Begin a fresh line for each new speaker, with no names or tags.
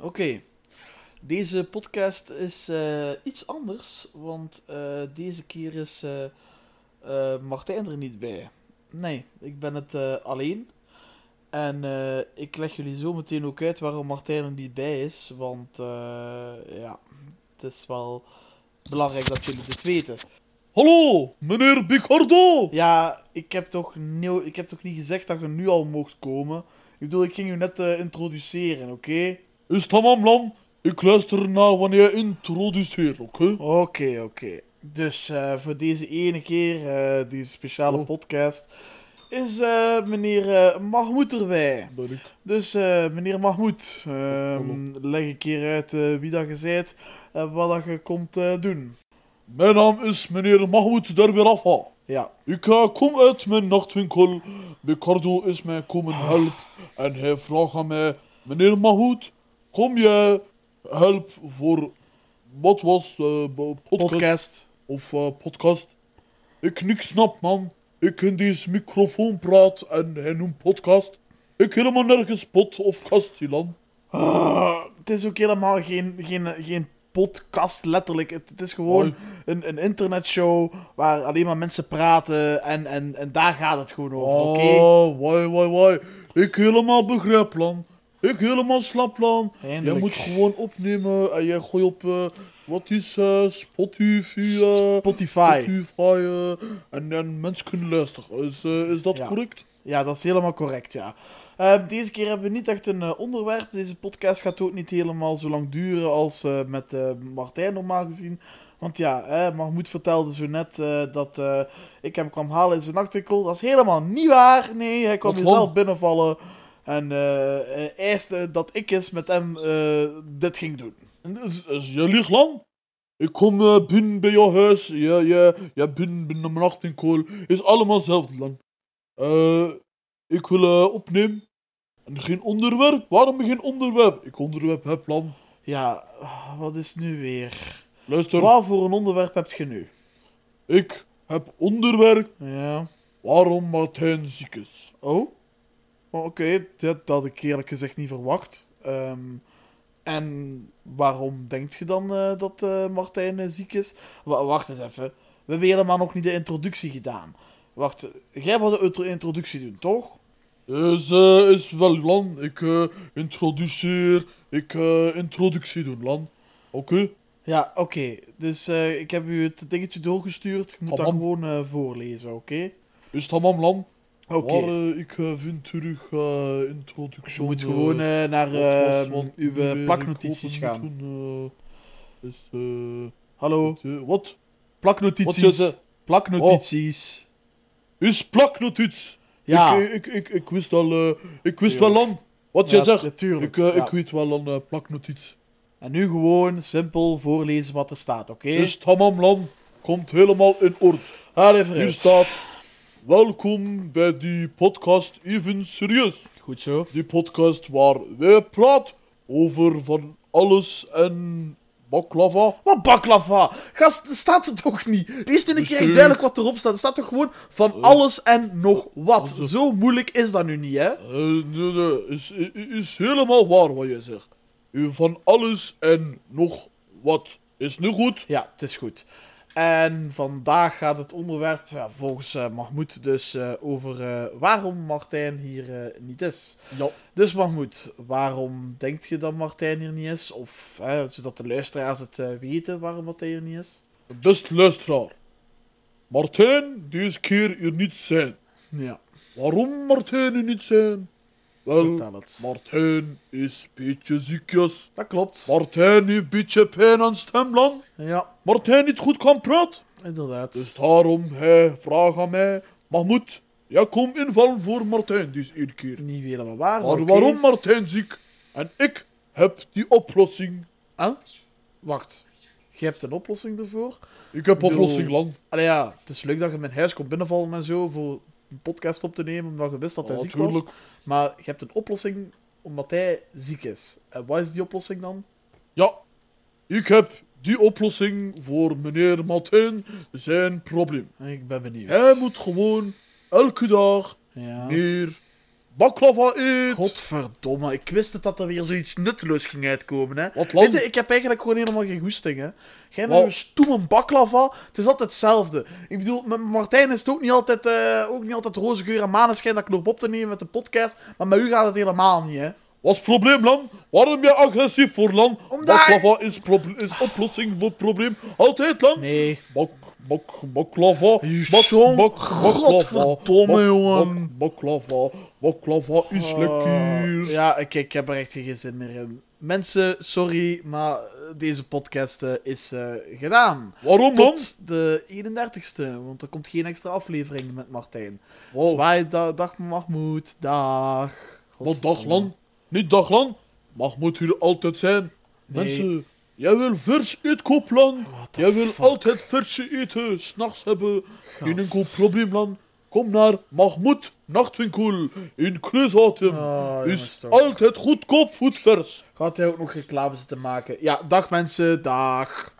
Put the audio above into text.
Oké. Deze podcast is eh, iets anders, want eh, deze keer is eh, eh, Martijn er niet bij. Nee, ik ben het eh, alleen. En eh, ik leg jullie zo meteen ook uit waarom Martijn er niet bij is, want eh, ja, het is wel belangrijk dat jullie dit weten.
Hallo, meneer Bicardo!
Ja, ik heb toch, nieuw, ik heb toch niet gezegd dat je nu al mocht komen? Ik bedoel, ik ging je net eh, introduceren, oké?
Is tamam lam, ik luister naar wanneer je introduceert, oké?
Oké, oké. Dus eh, voor deze ene keer, eh, deze speciale
Oh.
podcast, is eh, meneer eh Mahmoud erbij.
Ben ik.
Dus eh, meneer Mahmoud, ehm,
hallo.
leg een keer uit eh, wie dat je zijt en wat dat je komt eh, doen.
Mijn naam is meneer Mahmoud Derbirafa.
Ja,
Ik eh, kom uit mijn nachtwinkel. Bicardo is mij komen helpen en hij vraagt aan mij: Meneer Mahmoud, kom jij help voor wat was eh, b- podcast
podcast.
of eh, podcast? Ik niks snap, man. Ik in deze microfoon praat en hij noemt podcast. Ik helemaal nergens pot of kast, Silan.
Ah, het is ook helemaal geen, geen, geen podcast, letterlijk. Het, het is gewoon een, een internetshow waar alleen maar mensen praten en, en, en daar gaat het gewoon over, oké?
Oh, wai, wai, wai. Ik helemaal begrijp, Lan. Ik helemaal slap, Lan. Jij
Eindelijk.
moet gewoon opnemen en jij gooi op, eh, wat is eh, Spotify, eh,
Spotify.
Spotify, eh, en, en mensen kunnen luisteren. Is, eh, is dat
Ja.
correct?
Ja, dat is helemaal correct, ja. Eh, deze keer hebben we niet echt een eh, onderwerp. Deze podcast gaat ook niet helemaal zo lang duren als eh, met eh, Martijn normaal gezien. Want ja, eh, Mahmoud vertelde zo net eh, dat eh, ik hem kwam halen in zijn nachtwinkel. Dat is helemaal niet waar. Nee, hij kwam
Wat
hier
dan?
zelf binnenvallen. En eh, hij eiste dat ik eens met hem eh, dit ging doen.
En Is, is, je liegt, Lan. Ik kom eh, binnen bij jouw huis. Ja, ja, ja, binnen, binnen mijn achterkool. Is allemaal hetzelfde, Lan. Eh, ik wil eh, opnemen. En geen onderwerp? Waarom geen onderwerp? Ik onderwerp heb, Lan.
Ja, wat is nu weer?
Luister,
Wat voor een onderwerp heb je nu?
ik heb onderwerp
Ja.
waarom Martijn ziek is.
Oh? Oh, Oké, dat, dat had ik eerlijk gezegd niet verwacht. Ehm, en waarom denkt je dan eh, dat eh, Martijn eh, ziek is? Wa- wacht eens even. We hebben helemaal nog niet de introductie gedaan. Wacht, eh, jij wil de intro- introductie doen, toch?
Dus eh, is wel Lan, ik eh, introduceer, ik eh, introductie doen Lan. Oké?
Ja, oké. Dus eh, ik heb u het dingetje doorgestuurd. Ik moet dat
Tamam.
gewoon eh, voorlezen, oké?
Is tamam Lan?
Oké.
Waar eh, ik eh, vind terug eh, introductie.
Je moet gewoon eh, naar
eh,
eh,
wat was,
uw
wat
eh,
meer
plaknotities
ik
gaan.
open moet doen, eh, is, eh,
Hallo,
het, eh, wat? Wat
plaknotities.
is het?
Plaknotities.
Is plaknotiets?
Ja.
Ik, eh, ik, ik, ik wist al, eh, ik wist
Tuurlijk.
wel Lan, wat jij
Ja,
zegt.
natuurlijk,
Ik, eh,
ja.
ik weet wel een eh, plaknotiets.
En nu gewoon simpel voorlezen wat er staat, oké?
Dus Tamamlam komt helemaal in orde.
Allee,
Hier
vooruit.
staat: Welkom bij die podcast Even Serieus.
Goed zo.
Die podcast waar wij praten over van alles en baklava.
Wat baklava? Gast, dat staat er toch niet? Lees nu een keer
Bestuur.
duidelijk wat erop staat. Er staat toch gewoon
Eh.
van alles en nog wat.
dat is-
Zo moeilijk is dat nu niet, hè?
Eh, nee, nee, is, i- i- is helemaal waar wat je zegt. Eh, Van alles en nog wat. Is nu goed?
Ja, het is goed. En vandaag gaat het onderwerp, ja, volgens eh, Mahmoud, dus eh, over eh, waarom Martijn hier eh, niet is.
Ja.
Dus Mahmoud, waarom denk je dat Martijn hier niet is? Of eh, zodat de luisteraars het eh, weten waarom Martijn hier niet is?
Best luisteraar. Martijn, deze keer hier niet zijn.
Ja,
Waarom Martijn hier niet zijn? Wel,
vertel het.
Martijn is een beetje ziekjes.
Ehm, Dat klopt.
Martijn heeft een beetje pijn aan stemland.
Ja,
Martijn niet goed kan praten.
inderdaad.
Dus daarom hij vraagt aan mij. Mahmoud, jij komt invallen voor Martijn deze ene keer.
Niet helemaal waar.
Maar
oké.
waarom Martijn ziek? En ik heb die oplossing.
Huh? Wacht. Je hebt een oplossing ervoor.
Ik heb
Doe.
oplossing lang.
Allee ja, het is leuk dat je mijn huis komt binnenvallen en zo voor een podcast op te nemen, omdat je wist dat hij ziek
Natuurlijk.
was. Maar je hebt een oplossing omdat hij ziek is. En wat is die oplossing dan?
Ja, ik heb die oplossing voor meneer Martijn zijn probleem.
Ik ben benieuwd.
Hij moet gewoon elke dag
Ja.
meer baklava eet.
Godverdomme, ik wist dat dat er weer zoiets nutteloos ging uitkomen, hè. Weet
Wat lang.
je, ik heb eigenlijk gewoon helemaal geen goesting, hè. Jij met
Wow.
een stoeme baklava, het is altijd hetzelfde. Ik bedoel, met Martijn is het ook niet altijd, eh, ook niet altijd roze geur en maneschijn dat ik loop op te nemen met de podcast, maar met u gaat het helemaal niet, hè.
Wat is het probleem, Lam? Waarom ben je agressief voor Lam?
Omdat-
Baklava is, proble- is oplossing voor het probleem. Altijd, Lam.
Nee.
Bak, bak, baklava.
Je
Bak,
zo'n
bak,
godverdomme,
bak,
jongen.
Bak, baklava. Baklava is
Oh,
lekker.
ja, ik, ik heb er echt geen zin meer in. Mensen, sorry, maar eh, deze podcast eh, is eh, gedaan.
Waarom, Lam?
Tot de 31ste, want er komt geen extra aflevering met Martijn.
Wow.
Zwaai, da- dag Mahmoud, dag.
Wat dag, Lam? Niet dag, Lam. Mag moet u er altijd zijn.
Nee.
Mensen, jij wil vers uitkoop, Lam.
What the
Jij wil
fuck?
altijd verse eten, s'nachts hebben. Geen enkel
Gast.
probleem, Lam. Kom naar Mahmoud Nachtwinkel in Kleushatem.
Oh, jongens,
is
toch.
altijd goedkoop voetvers.
Gaat hij ook nog reclame zitten maken? Ja, dag mensen, dag.